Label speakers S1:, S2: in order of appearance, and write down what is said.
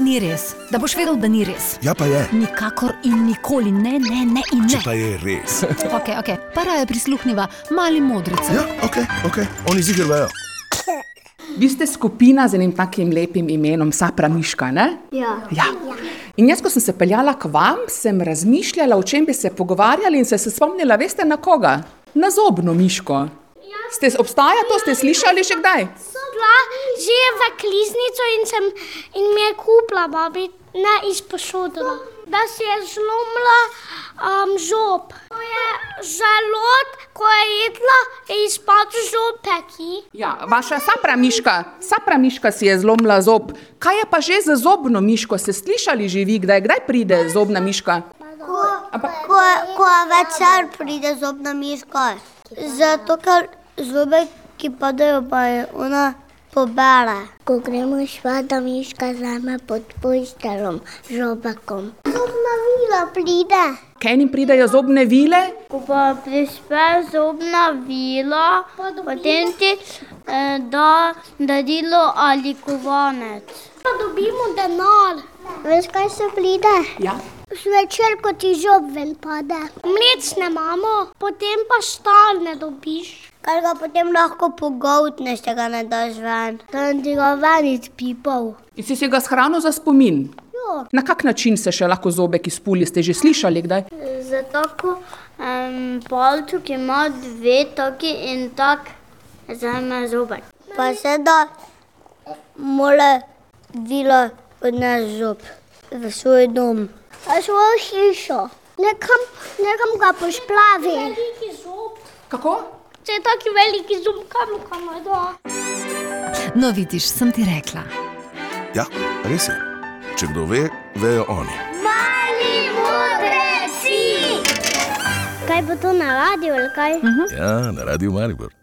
S1: ni res, da boš vedel, da ni res.
S2: Ja, pa je.
S1: Nikakor in nikoli ne, ne, ne in
S2: Če
S1: ne.
S2: pa je res.
S1: Okay, okay. Para je prisluhnila mali modrici.
S2: Ja, ok, ok, oni zigrajo.
S3: Vi ste skupina z enim takim lepim imenom, Sapra Miška, ne?
S4: Ja.
S3: Ja. In jaz, ko sem se peljala k vam, sem razmišljala, o čem bi se pogovarjali, in sem se spomnila, veste na koga? Na zobno miško. Ste, obstaja to, ste slišali še kdaj?
S4: Sem bila že v kliznico in, sem, in mi je kupila babica izposodila, da si je zlomila um, zob. Ko je žalot, ko je jedla, je izpadel zopek. ji.
S3: Ja, vaša sapra miška, sapra miška si je zlomila zob. Kaj je pa že za zobno miško? Ste slišali že vi, kdaj, kdaj pride zobna miška?
S5: Ko, ko večer pride zobna miška, zato ker zobe, ki padajo, pa je ona pobere.
S4: Ko gremo šva, da miška zame pod poštelom, žobakom.
S5: Zobna vila pride.
S3: Kaj jim pridejo zobne vile?
S4: Ko pa prispe zobna vila, potem ti eh, da darilo ali kovanec. Pa dobimo denar.
S5: Veš, kaj se pride?
S3: Ja.
S5: Zvečer, ko ti žob ven pade,
S4: Mlečne imamo, potem pa štalne dobiš.
S5: ker ga potem lahko pogoltneš, če ga ne daš ven. Tam ti ga ven izpipal.
S3: In si si ga shranil za spomin.
S5: Ja.
S3: Na kak način se še lahko zobek izpuli, ste že slišali kdaj?
S4: Zato, ko um, palčuk ima dve toki in tak zame zobek.
S5: Pa se da mora vila odnesti zob v svoj dom. V svojo hišo. Nekam, nekam ga pošplavi.
S4: Veliki zob.
S3: Kako?
S4: Če je taki veliki zob, kam ga ima dva?
S1: No, vidiš, sem ti rekla.
S2: Ja, res je. Če kdo ve, vejo oni.
S4: Kaj bo to na radiju ali kaj?
S2: Ja, na radiju Maribor.